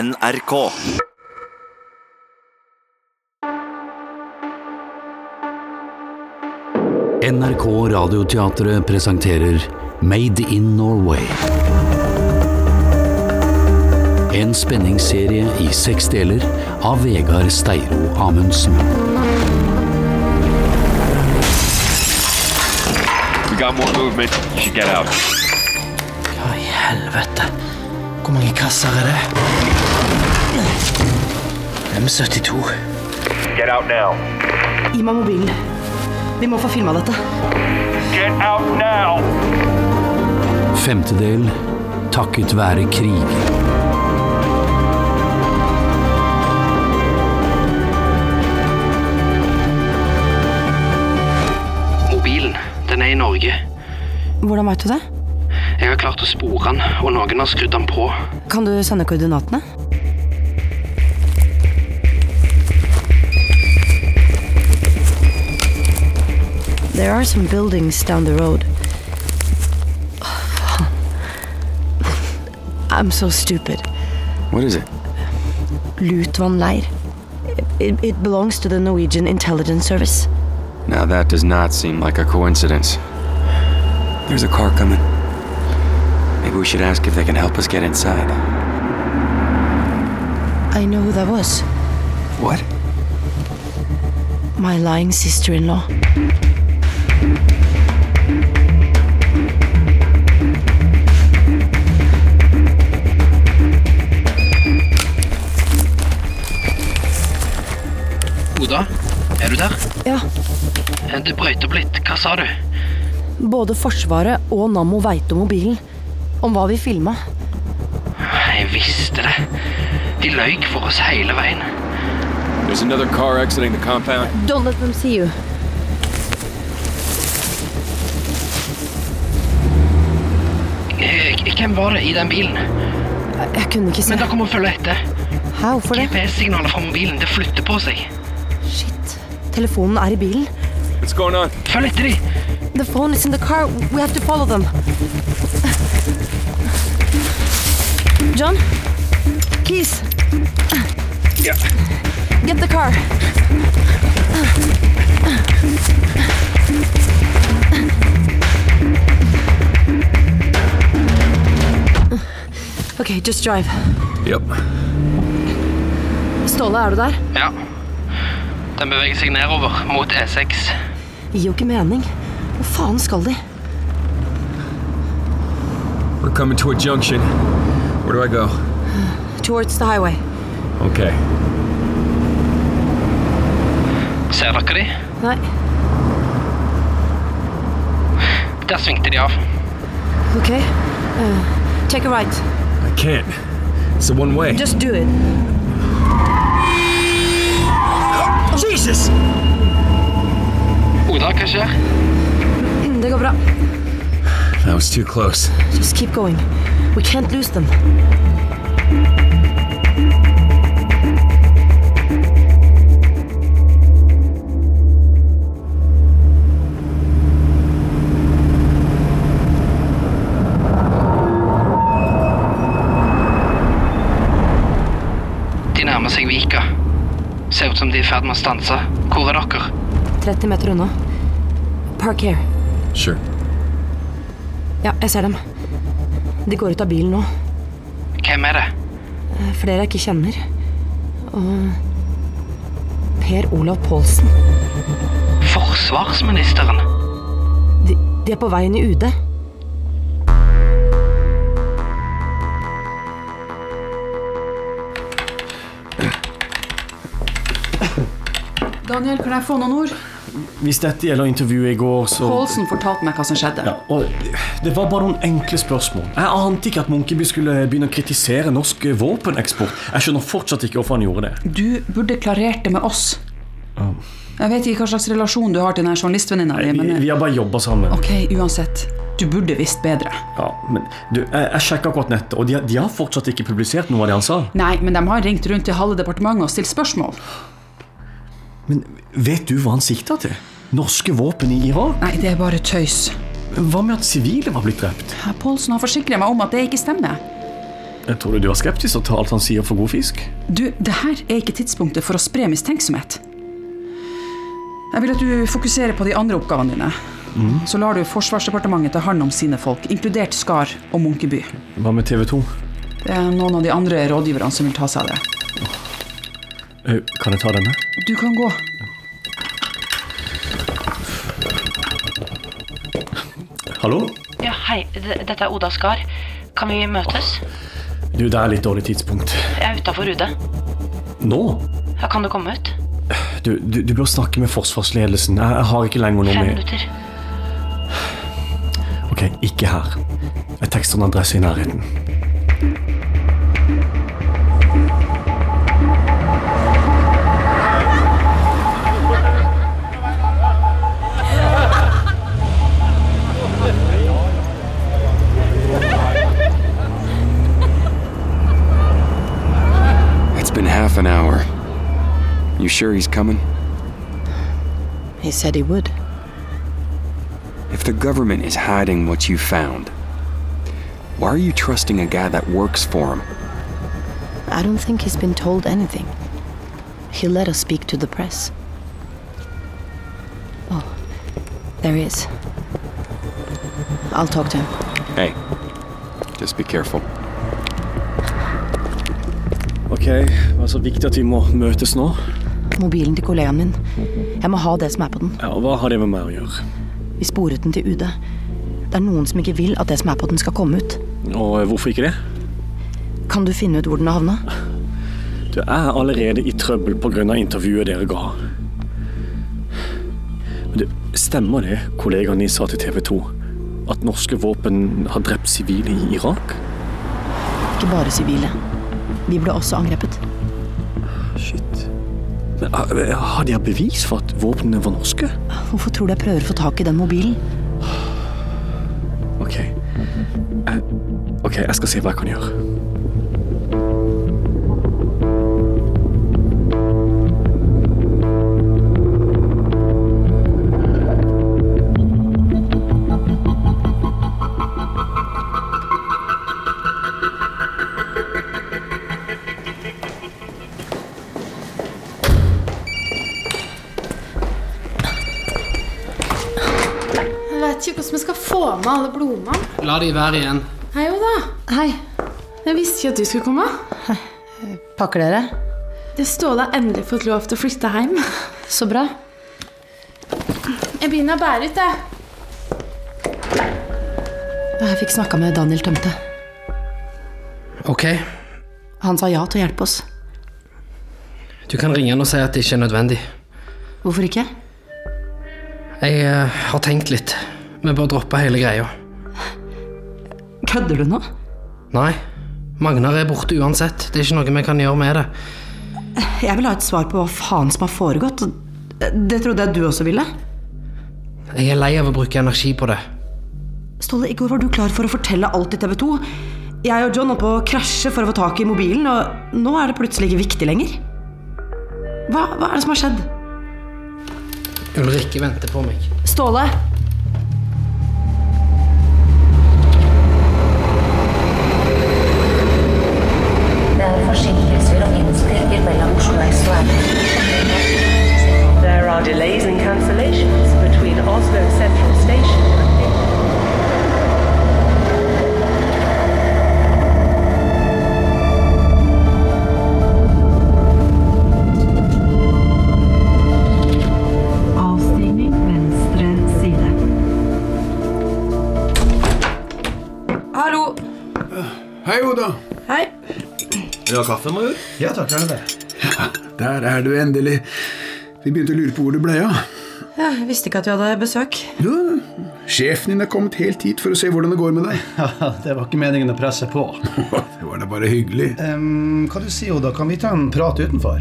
NRK. NRK Radioteatret presenterer Made in Norway. En spenningsserie i seks deler av Vegard Steiro Amundsen. We got more movement. You should get out. Hva i helvete? Hvor mange kasser er det? M72. Get out now. Gi meg mobilen. Vi må få filma dette. Get out now. Femte del Takket være krig. Mobilen, den er i Norge. Hvordan veit du det? Jeg har klart å spore den, og noen har skrudd den på. Kan du sende koordinatene? There are some buildings down the road. Åh, faen. I'm so stupid. What is it? Lutvann leir. It, it belongs to the Norwegian Intelligence Service. Now that does not seem like a coincidence. There's a car coming. Maybe we should ask if they can help us get inside. I know who that was. What? My lying sister-in-law. Oda, er du der? Ja, Det brøyt opp litt. Hva sa du? Både Forsvaret og Nammo veit om mobilen. Om hva vi filma. Jeg visste det. De løy for oss hele veien. There's another car exiting the compound. Don't let them see you. Eh, Hvem var det i den bilen? Jeg kunne ikke se. Men dere må følge etter. Hæ, hvorfor det? GPS-signalet fra mobilen, det flytter på seg. Shit. Telefonen er i bilen. What's going on? Følg etter de. The phone is in the car. We have to follow them. John? Keys. Get the car. Okay, just drive. Yep. Ståle, er du der? Ja. Den beveger seg nedover mot E E6. Gir jo ikke mening. Hvor faen skal de? We're coming to a junction. Where do I go? Towards the highway. Okay. Ser dere de? Nei, Der svingte de av. ok. Eh, take a right. I can't. It's a one way. Just do it. Oda, hva skjer? Mm, Det går bra. That was too close. Just keep going. We can't lose them. De nærmer seg Vika. Ser ut som de er i ferd med å stanse. Hvor er dere? 30 meter unna. Park here. Sure. Ja, jeg ser dem. De går ut av bilen nå. Hvem er det? Eh, Flere jeg ikke kjenner. Og Per Olav Pålsen. Forsvarsministeren? De, de er på vei inn i UD. Daniel, kan jeg få noen ord? Hvis dette gjelder intervjuet i går, så Paulsen fortalte meg hva som skjedde. ja, og Det var bare noen enkle spørsmål. Jeg ante ikke at Munkeby skulle begynne å kritisere norsk våpeneksport. Jeg skjønner fortsatt ikke hvorfor han gjorde det. Du burde klarert det med oss. Jeg vet ikke hva slags relasjon du har til denne journalistvenninna di, Vi, men vi har bare jobba sammen. Ok, uansett. Du burde visst bedre. Ja, men du, Jeg, jeg sjekka akkurat nettet, og de, har- de har fortsatt ikke publisert noe av det han sa. Nei, men de har ringt rundt til halve departementet og stilt spørsmål. Men vet du hva han sikta til? Norske våpen i Irak? Nei, det er bare tøys. Hva med at sivile var blitt drept? Polsen har forsikret meg om at det ikke stemmer. Jeg tror du var skeptisk og tar alt han sier for god fisk. Du, det her er ikke tidspunktet for å spre mistenksomhet. Jeg vil at du fokuserer på de andre oppgavene dine. Mm. Så lar du Forsvarsdepartementet ta hånd om sine folk, inkludert Skar og Munkeby. Hva med TV 2? Det er noen av de andre rådgiverne som vil ta seg av det. Eh, Kan jeg ta denne? Du kan gå. Hallo? Ja, hei. D- Dette er Oda Skar. Kan vi møtes? Du, det er litt dårlig tidspunkt. Jeg er utafor Rude. Nå? Ja, Kan du komme ut? Du, du, du bør snakke med forsvarsledelsen. Jeg, jeg har ikke lenger noe Fem med minutter. Ok, ikke her. Jeg tekster en adresse i nærheten. It's been half an hour. You sure he's coming? He said he would. If the government is hiding what you found, why are you trusting a guy that works for him? I don't think he's been told anything. He let us speak to the press. Oh, there he is. I'll talk to him. Hey, just be careful. Ok, det var så viktig at vi må møtes nå. Mobilen til kollegaen min. Jeg må ha det som er på den. Ja, og Hva har det med meg å gjøre? Vi sporet den til UD. Det er noen som ikke vil at det som er på den skal komme ut. Og eh, hvorfor ikke det? Kan du finne ut hvor den har havna? Du er allerede i trøbbel pga. intervjuet dere ga. Men det stemmer det kollegaen din sa til TV 2? At norske våpen har drept sivile i Irak? Ikke bare sivile. Vi ble også angrepet. Shit. Men eh, Har de bevis for at våpnene var norske? Hvorfor tror du jeg prøver å få tak i den mobilen? Ok. Jeg- Ok, jeg skal se hva jeg kan gjøre. Jeg vet ikke hvordan vi skal få med alle blomene. La de være igjen. Hei, Oda. Hei. Jeg visste ikke at du skulle komme. Pakker dere? Det Ståle har endelig fått lov til å flytte hjem. Så bra. Jeg begynner å bære ut, jeg. Jeg fikk snakka med Daniel Tømte. Ok, Han sa ja til å hjelpe oss. du kan ringe han og si at det ikke er nødvendig. Hvorfor ikke? Jeg eh, har tenkt litt. Vi bør droppe hele greia. Kødder du nå? Nei, Magnar er borte uansett. Det er ikke noe vi kan gjøre med det. Jeg vil ha et svar på hva faen som har foregått. Det trodde jeg du også ville. Jeg er lei av å bruke energi på det. Ståle, i går var du klar for å fortelle alt til TV 2. Jeg og John holdt på å krasje for å få tak i mobilen, og nå er det plutselig ikke viktig lenger. Hva, hva er det som har skjedd? Ulrikke venter på meg. Ståle! Det er forsinkelser og innstillinger mellom Oslo S og There are delays and cancellations between Oslo Central Station. Avstigning venstre side. Hallo! Hei, Oda. Hei. Vil du ha kaffe, Major? Ja, takk. Er det. Der er du endelig. Vi begynte å lure på hvor du ble av. Jeg visste ikke at vi hadde besøk. Sjefen din er kommet helt hit for å se hvordan det går med deg. Det var ikke meningen å presse på. Det var da bare hyggelig. Um, hva du sier, Oda? Kan vi ta en prat utenfor?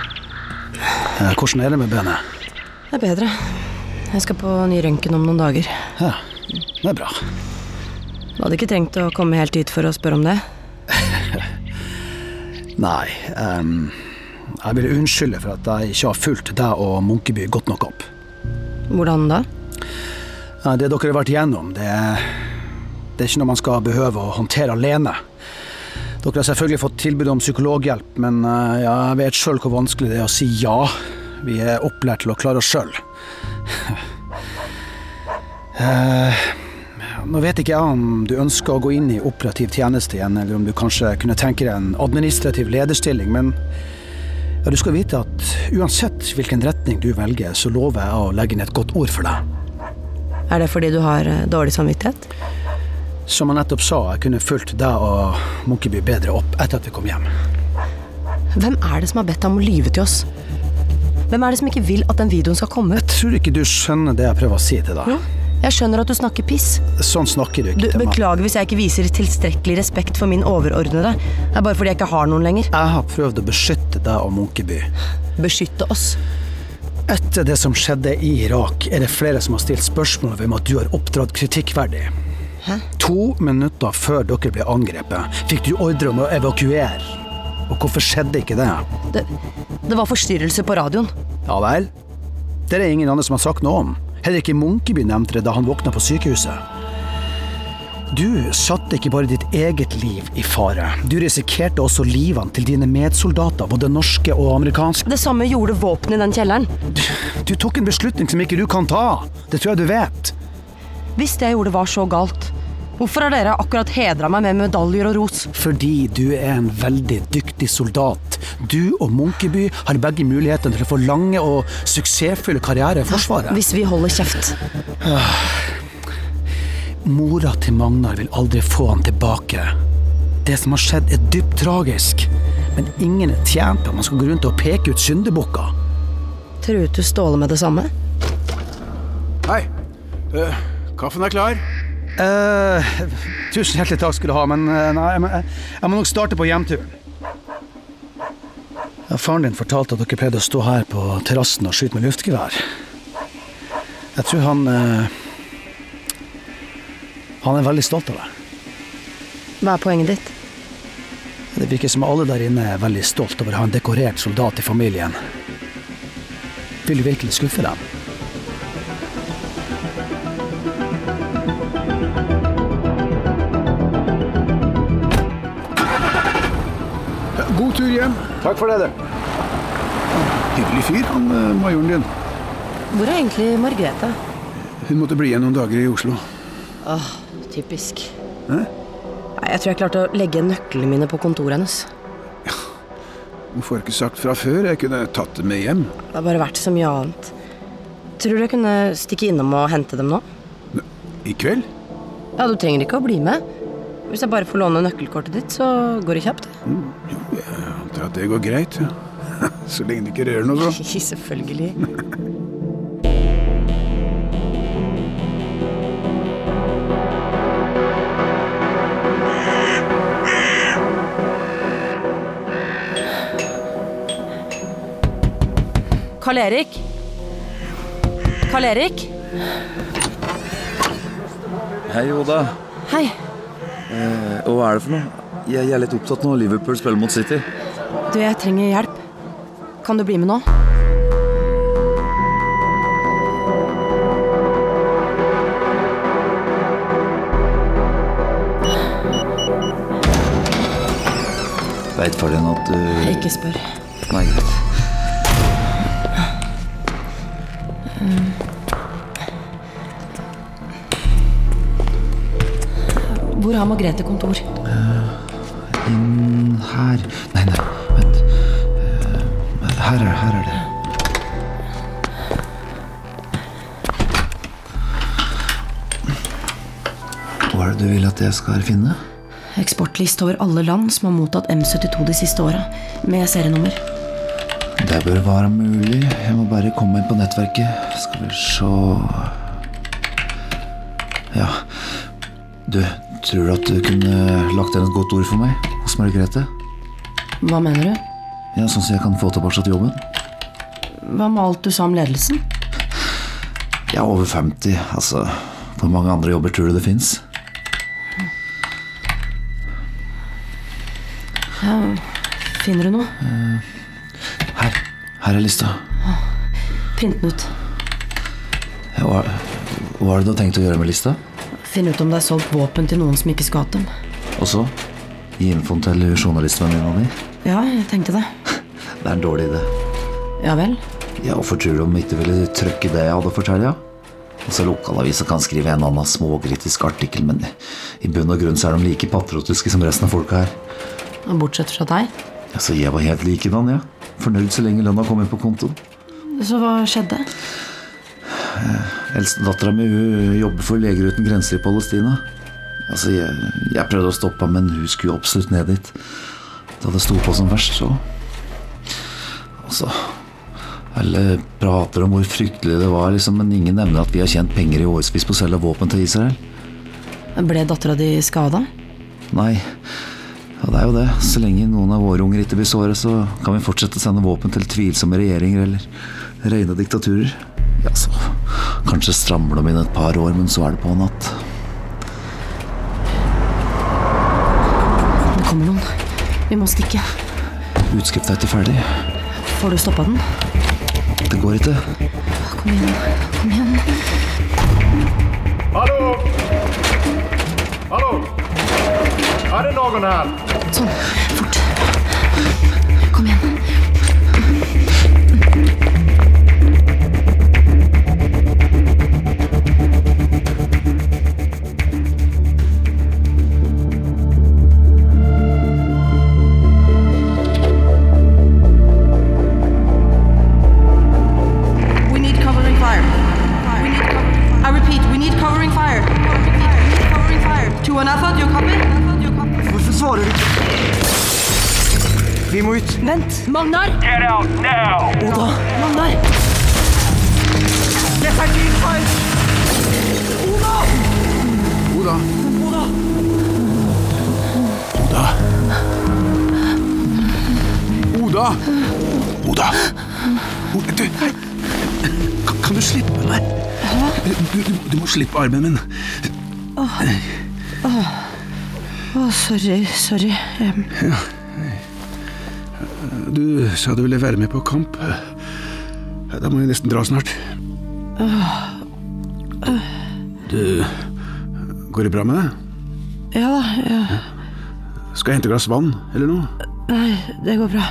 Eh, Hvordan er det med benet? Det er bedre. Jeg skal på ny røntgen om noen dager. Ja, det er bra. Du hadde ikke trengt å komme helt hit for å spørre om det. Nei, ehm, jeg vil unnskylde for at jeg ikke har fulgt deg og Munkeby godt nok opp. Hvordan da? Nei, Det dere har vært igjennom, det, det er ikke noe man skal behøve å håndtere alene. Dere har selvfølgelig fått tilbud om psykologhjelp, men eh, ja, jeg vet sjøl hvor vanskelig det er å si ja. Vi er opplært til å klare oss sjøl. Eh, Nå vet ikke jeg om du ønsker å gå inn i operativ tjeneste igjen, eller om du kanskje kunne tenke deg en administrativ lederstilling, men ja, du skal vite at uansett hvilken retning du velger, så lover jeg å legge inn et godt ord for deg. Er det fordi du har eh, dårlig samvittighet? Som jeg nettopp sa, jeg kunne fulgt deg og Munkeby bedre opp etter at vi kom hjem. Hvem er det som har bedt deg om å lyve til oss? Hvem er det som ikke vil at den videoen skal komme ut? Tror du ikke du skjønner det jeg prøver å si til deg? Jeg skjønner at du snakker piss. Sånn snakker du Du, ikke til meg. beklager hvis jeg ikke viser tilstrekkelig respekt for min overordnede. Det er bare fordi jeg ikke har noen lenger. Jeg har prøvd å beskytte deg og Munkeby. Beskytte oss. Etter det som skjedde i Irak, er det flere som har stilt spørsmål ved om at du har oppdratt kritikkverdig. To minutter før dere ble angrepet, fikk du ordre om å evakuere. Og hvorfor skjedde ikke det? Det, det var forstyrrelse på radioen. Ja vel? Det er det ingen andre som har sagt noe om. Heller ikke Munkeby nevnte det da han våkna på sykehuset. Du satte ikke bare ditt eget liv i fare. Du risikerte også livene til dine medsoldater, både norske og amerikanske. Det samme gjorde våpenet i den kjelleren. Du, du tok en beslutning som ikke du kan ta. Det tror jeg du vet. Hvis det jeg gjorde var så galt, hvorfor har dere akkurat hedra meg med medaljer og ros? Fordi du er en veldig dyktig soldat. Du og Munkeby har begge mulighetene til å få lange og suksessfulle karrierer i Forsvaret. Hvis vi holder kjeft. Mora Ah. til Magnar vil aldri få han tilbake. Det som har skjedd, er dypt tragisk. Men ingen er tjent på at man skal gå rundt og peke ut syndebukker. Truet du Ståle med det samme? Hei. Eh, kaffen er klar. Eh, tusen hjertelig takk skal du ha, men eh, nei, jeg, må- jeg, jeg må nok starte på hjemturen. Ja, faren din fortalte at dere pleide å stå her på terrassen og skyte med luftgevær. Jeg tror han eh, Han er veldig stolt av deg. Hva er poenget ditt? Det virker som alle der inne er veldig stolt over å ha en dekorert soldat i familien. Vil du virkelig skuffe dem? God tur hjem. Takk for det, du. Hyggelig fyr, han eh, majoren din. Hvor er egentlig Margrethe? Hun måtte bli igjen noen dager i Oslo. Åh, typisk. Hæ? Nei, Jeg tror jeg klarte å legge nøklene mine på kontoret hennes. Hvorfor har jeg ikke sagt fra før? Jeg kunne tatt det med hjem. Det har bare vært så mye annet. Tror du jeg kunne stikke innom og hente dem nå? I kveld? Ja, du trenger ikke å bli med. Hvis jeg bare får låne nøkkelkortet ditt, så går det kjapt. Antar at det går greit. ja. Så lenge du ikke rører noe, så. Selvfølgelig. Karl-Erik? Karl-Erik? Hei, Oda. Hei. Eh, og hva er det for noe? Jeg, jeg er litt opptatt når Liverpool spiller mot City. Du, jeg trenger hjelp. Kan du bli med nå? Veit far din at du Ikke spør. Nei, greit. Hvor har Margrethe kontor? Eh, Inn her Nei, nei, vent. Eh, Her er, her er det. Hva er det du vil at jeg skal finne? Eksportliste over alle land som har mottatt M72 de siste åra, med serienummer. Det bør være mulig. Jeg må bare komme meg inn på nettverket. Skal vi se Ja. Du, tror du at du kunne lagt igjen et godt ord for meg hos Margrethe? Hva mener du? Ja, Sånn som jeg kan få tilbake til jobben? Hva med alt du sa om ledelsen? Jeg er over 50. Altså, hvor mange andre jobber tror du det fins? Ja, finner du noe? Eh, Her er lista. Print den ut. Hva, hva er det du har tenkt å gjøre med lista? Finne ut om det er solgt våpen til noen som ikke skulle hatt dem. Og så gi infoen til journalistvenninna di? Ja, jeg tenkte det. Det er en dårlig idé. Ja vel? Ja, Hvorfor tror du de ikke ville trykke det jeg hadde fortalt? Ja? Altså, Lokalavisa kan skrive en annen småkritisk artikkel, men i bunn og grunn så er de like patriotiske som resten av folka her. Og Bortsett fra deg. Altså, Jeg var helt likedan, jeg. Ja. Fornøyd så lenge lønna kom inn på kontoen. Så hva skjedde? Eh, Eldstedattera mi hun jobber for Leger uten grenser i Palestina. Altså, jeg, jeg prøvde å stoppe henne, men hun skulle absolutt ned dit. Da det sto på som verst, så Altså Alle prater om hvor fryktelig det var, liksom, men ingen nevner at vi har tjent penger i årevis på å selge våpen til Israel. Ble dattera di skada? Nei. Ja, det er jo det. Så lenge noen av våre unger ikke blir såret, så kan vi fortsette å sende våpen til tvilsomme regjeringer eller rene diktaturer. Ja, så Kanskje stramler de inn et par år, men så er det på en natt. Det kommer noen. Vi må stikke. Utskrifta er ikke ferdig. Får du stoppa den? Det går ikke. Kom igjen. Kom igjen. Hallo! Hallo! Er det noen her? Sånn. Fort. Kom igjen. We need covering fire. We need cover. I repeat, we need covering fire. Covering fire. To an alpha, do you copy? Hvorfor svarer du ikke? Vi må ut. Vent. Magnar! Get out now! Oda! Magnar! Dette er din feil! Oda! Oda. Oda. Oda. Oda! Oda! Oda, Du, hei. Kan, kan du slippe meg? Du, du, du må slippe armen min. Åh. Åh. Åh, sorry, sorry. Em, Ja. Du sa du ville være med på kamp. Da må jeg nesten dra snart. åh. Du Går det bra med deg? Ja da, ja. Skal jeg hente et glass vann eller noe? Nei, det går bra.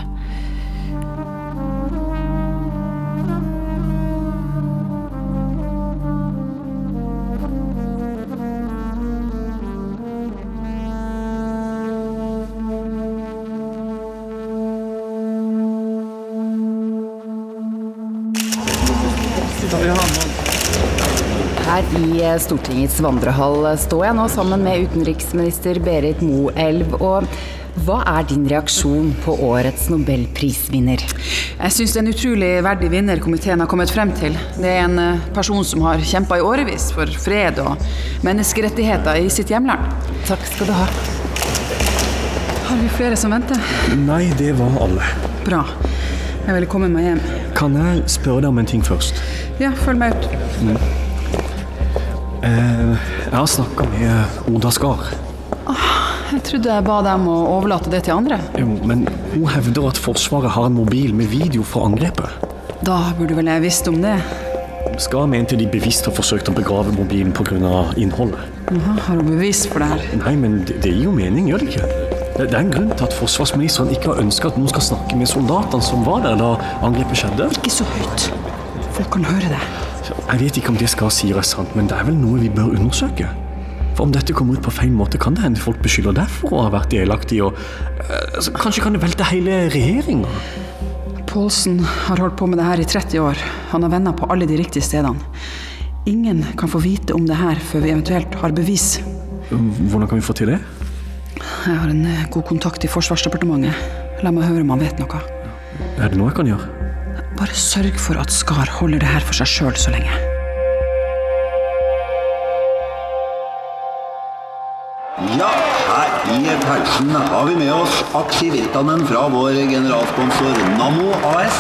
Her i eh, Stortingets vandrehall eh, står jeg nå sammen med utenriksminister Berit Moelv. Og hva er din reaksjon på årets nobelprisvinner? Jeg syns det er en utrolig verdig vinner komiteen har kommet frem til. Det er en eh, person som har kjempa i årevis for fred og menneskerettigheter i sitt hjemland. Takk skal du ha. Har vi flere som venter? Nei, det var alle. Bra. Jeg ville komme meg hjem. Kan jeg spørre deg om en ting først? Mm. Ja, følg meg ut. Eh, jeg har snakka med Oda Skar. Jeg trodde jeg ba dem å overlate det til andre. Jo, men hun hevder at Forsvaret har en mobil med video fra angrepet. Da burde vel jeg visst om det. Skar mente de bevisst har forsøkt å begrave mobilen pga. innholdet. Jaha, har hun bevis for det her? Nei, men det, det gir jo mening, gjør det ikke? Det, det er en grunn til at forsvarsministeren ikke har ønska at noen skal snakke med soldatene som var der da angrepet skjedde. Ikke så høyt. Folk kan høre det. Jeg vet ikke om det Skar sier er sant, men det er vel noe vi bør undersøke. For om dette kommer ut på feil måte, kan det hende folk beskylder deg for å ha vært delaktig, og eh, altså, kanskje kan det velte hele regjeringa. Paulsen har holdt på med det her i 30 år. Han har venner på alle de riktige stedene. Ingen kan få vite om det her før vi eventuelt har bevis. Hvordan kan vi få til det? Jeg har en eh, god kontakt i Forsvarsdepartementet. La meg høre om han vet noe. Er det noe jeg kan gjøre? Bare sørg for at Skar holder det her for seg sjøl så lenge. Ja, her i pausen har vi med oss Aksjevirtanen fra vår generalsponsor Nammo AS.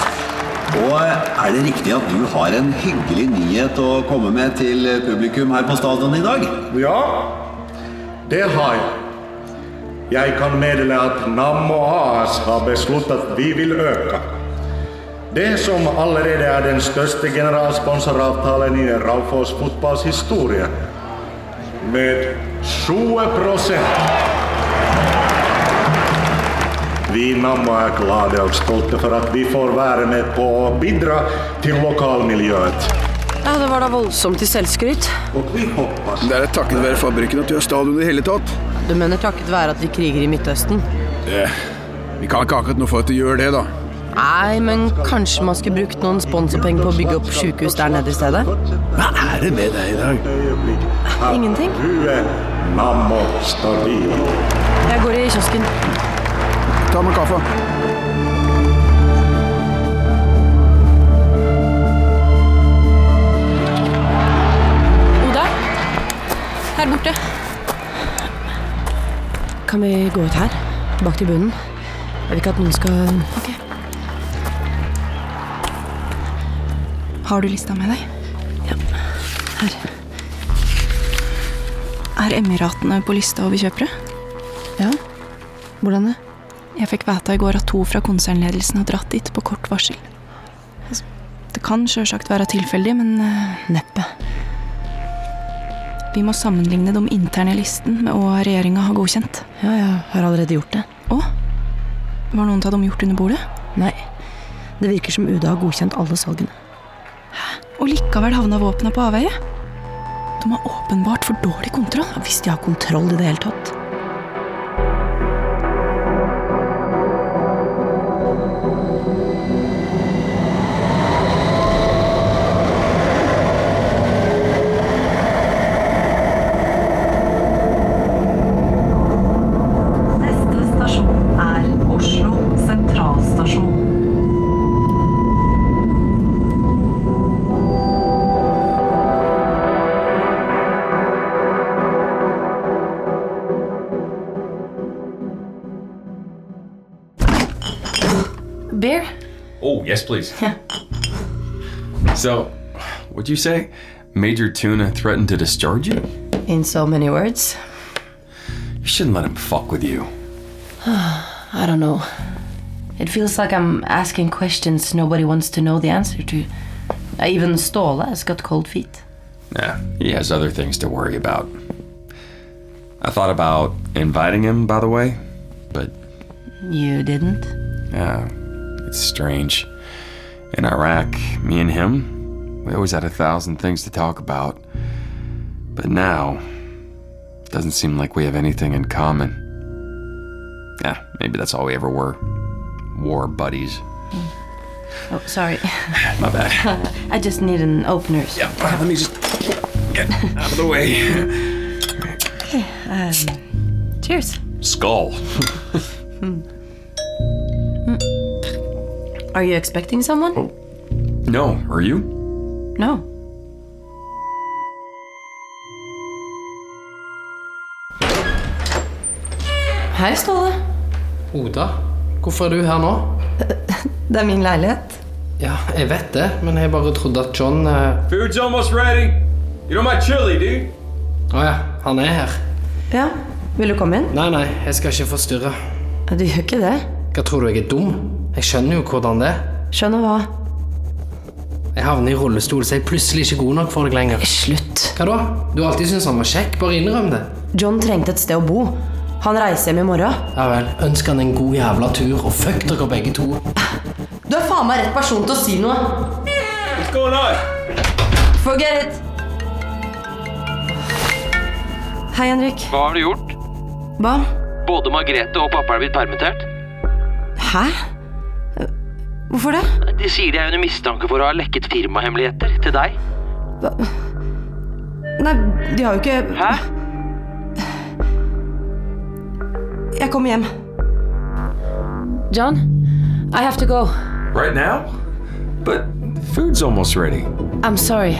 Og er det riktig at du har en hyggelig nyhet å komme med til publikum her på stadion i dag? Ja, det har jeg. Jeg kan meddele at Nammo AS har besluttet at vi vil øke. Det som allerede er den største generalsponsoravtalen i Raufoss fotballs historie. Med 20 Vi i Nammo er glade og stolte for at vi får være med på å bidra til lokalmiljøet. Ja, Det var da voldsomt til selvskryt. Det er takket være fabrikken at vi har stadion i det hele tatt. Du mener takket være at de kriger i Midtøsten? Det, vi kan ikke akkurat noe for at de gjør det, da. Nei, men kanskje man skulle brukt noen sponsorpenger på å bygge opp sjukehus der nede i stedet? Hva er det med deg i dag? Ingenting. Nammo stabil. Jeg går i kiosken. Ta med kaffe. Oda, her borte. Kan vi gå ut her? Bak til bunnen? Jeg vil ikke at noen skal Ok. Har du lista med deg? Ja. Her. Er Emiratene på lista over kjøpere? Ja. Hvordan det? Jeg fikk vite i går at to fra konsernledelsen har dratt dit på kort varsel. Altså, Det kan sjølsagt være tilfeldig, men eh, Neppe. vi må sammenligne de interne listene med hva regjeringa har godkjent. Ja, jeg har allerede gjort det. Å? Var noen av dem gjort under bordet? Nei. Det virker som UD har godkjent alle salgene. Og likevel havna våpna på avveie? De har åpenbart for dårlig kontroll. Hvis de har kontroll i det hele tatt. Neste stasjon er Oslo sentralstasjon. Beer? Oh, yes, please. So, What'd you say? Major Tuna threatened to discharge you? In so many words. You shouldn't let him fuck with you. I don't know. It feels like I'm asking questions nobody wants to know the answer to. I even Ståle has got cold feet. Yeah, he has other things to worry about. I thought about inviting him, by the way, but You didn't? yeah, it's strange. In Iraq, me and him, we always had a thousand things to talk about. But now, doesn't seem like we have anything in common. Yeah, maybe that's all we ever were. War buddies. Oh, sorry. My bad. I just need an opener. Yeah, let me just get out of the way. Okay, um, cheers. Skull. Mm. Are you expecting someone? Oh. No, are you? No. Hei, Ståle. Oda, hvorfor er du her nå? Det er min leilighet. Ja, jeg vet det, men jeg bare trodde at John eh, Food's almost ready. You know my chili, dude. Å ja, han er her. Ja, vil du komme inn? Nei, nei, jeg skal ikke forstyrre. Du gjør ikke det. Hva tror du, jeg er dum? Jeg skjønner jo hvordan det er. Skjønner hva? Jeg havner i rullestol, så jeg er plutselig ikke god nok for deg lenger. Eh, Slutt. Hva da? Du har alltid syntes han var kjekk, bare innrøm det. John trengte et sted å bo. Han reiser hjem i morgen. Ja vel, ønsk han en god jævla tur, og fuck dere begge to. Du er faen meg rett person til å si noe. What's going on? Forget it. Hei, Henrik. Hva har du gjort? Hva? Både Margrethe og pappa er blitt permittert. Hæ? Hvorfor det? De sier de er under mistanke for å ha lekket firmahemmeligheter til deg. Nei, de har jo ikke Hæ? Jeg kommer hjem. John, I have to go. Right now? But food's almost ready. I'm sorry.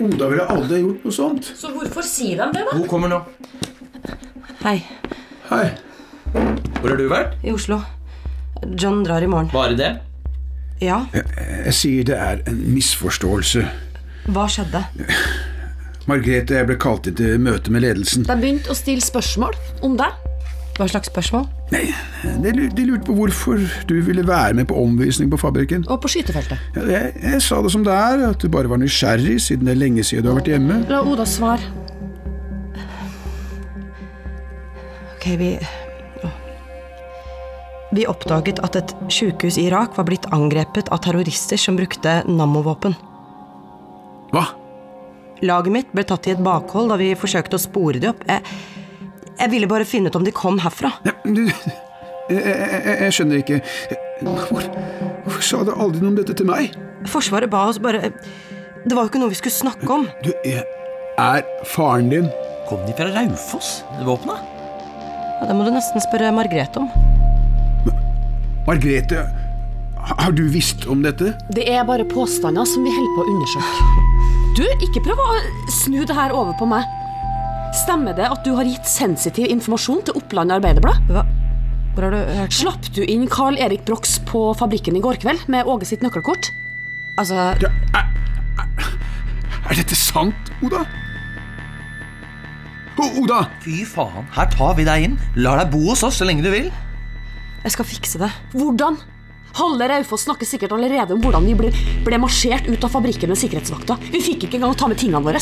Oda ville aldri gjort noe sånt. Så hvorfor sier de det, da? kommer nå. Hei. Hei. Hvor har du vært? I Oslo. John drar i morgen. Bare det? Ja, Jeg sier det er en misforståelse. hva skjedde? Margrethe, jeg ble kalt inn til møte med ledelsen. De begynte å stille spørsmål om deg. Hva slags spørsmål? Nei, de, lu- de lurte på hvorfor du ville være med på omvisning på fabrikken. Og på skytefeltet. Ja, Jeg, jeg sa det som det er, at du bare var nysgjerrig siden det er lenge siden du har vært hjemme. La Oda svare. Ok, vi Åh. Vi oppdaget at et sykehus i Irak var blitt angrepet av terrorister som brukte Nammo-våpen. Hva? Laget mitt ble tatt i et bakhold da vi forsøkte å spore de opp. Jeg, jeg ville bare finne ut om de kom herfra. Jeg, jeg, jeg- jeg skjønner ikke. Hvor, hvorfor sa du aldri noe om dette til meg? Forsvaret ba oss bare Det var jo ikke noe vi skulle snakke om. Du er, er faren din Kom de fra Raufoss, våpna? Ja, det må du nesten spørre Margrethe om. Margrethe, har har du visst om dette? Det er bare påstander som vi holder på å undersøke. Du, ikke prøv å snu det her over på meg. Stemmer det at du har gitt sensitiv informasjon til Oppland Arbeiderblad? Hva? Hvor har du hørt Slapp du inn Carl Erik Brox på fabrikken i går kveld med Åge sitt nøkkelkort? Altså Er dette sant, Oda? Oda! Fy faen, her tar vi deg inn. Lar deg bo hos oss så lenge du vil. Jeg skal fikse det. Hvordan? Halve Raufoss snakker sikkert allerede om hvordan vi ble, ble marsjert ut av fabrikken med sikkerhetsvakta. Vi fikk ikke engang ta med tingene våre.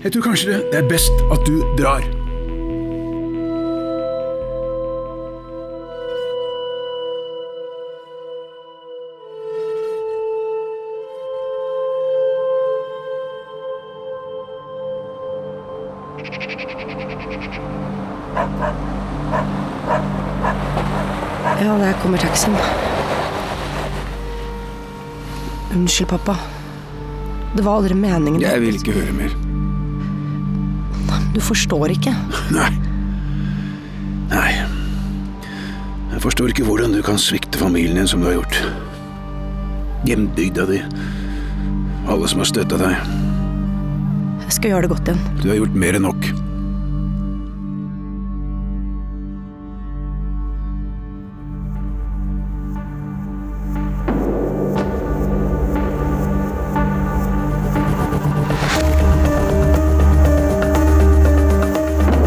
Jeg tror kanskje det, det er best at du drar. Ja, der kommer taxien. Unnskyld, pappa. Det var aldri meningen. Jeg vil ikke høre mer. Du forstår ikke. Nei. Nei. Jeg forstår ikke hvordan du kan svikte familien din som du har gjort. Hjembygda di. Alle som har støtta deg. Jeg skal gjøre det godt igjen. Du har gjort mer enn nok.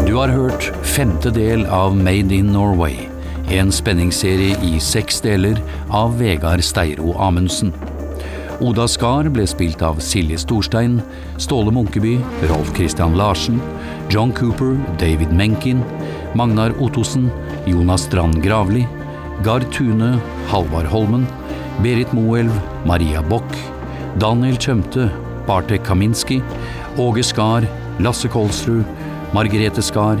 Du har hørt femte del av Made in Norway, en spenningsserie i seks deler av Vegard Steiro Amundsen. Oda Skar ble spilt av Silje Storstein, Ståle Munkeby, Rolf Christian Larsen, John Cooper, David Menken, Magnar Ottosen, Jonas Strand Gravli, Gard Tune, Halvard Holmen, Berit Moelv, Maria Bock, Daniel Tjømte, Bartek Kaminski, Åge Skar, Lasse Kolsrud, Margrethe Skar,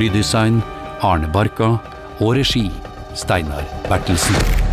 Lyddesign Arne Barka. Og regi Steinar Bertelsen.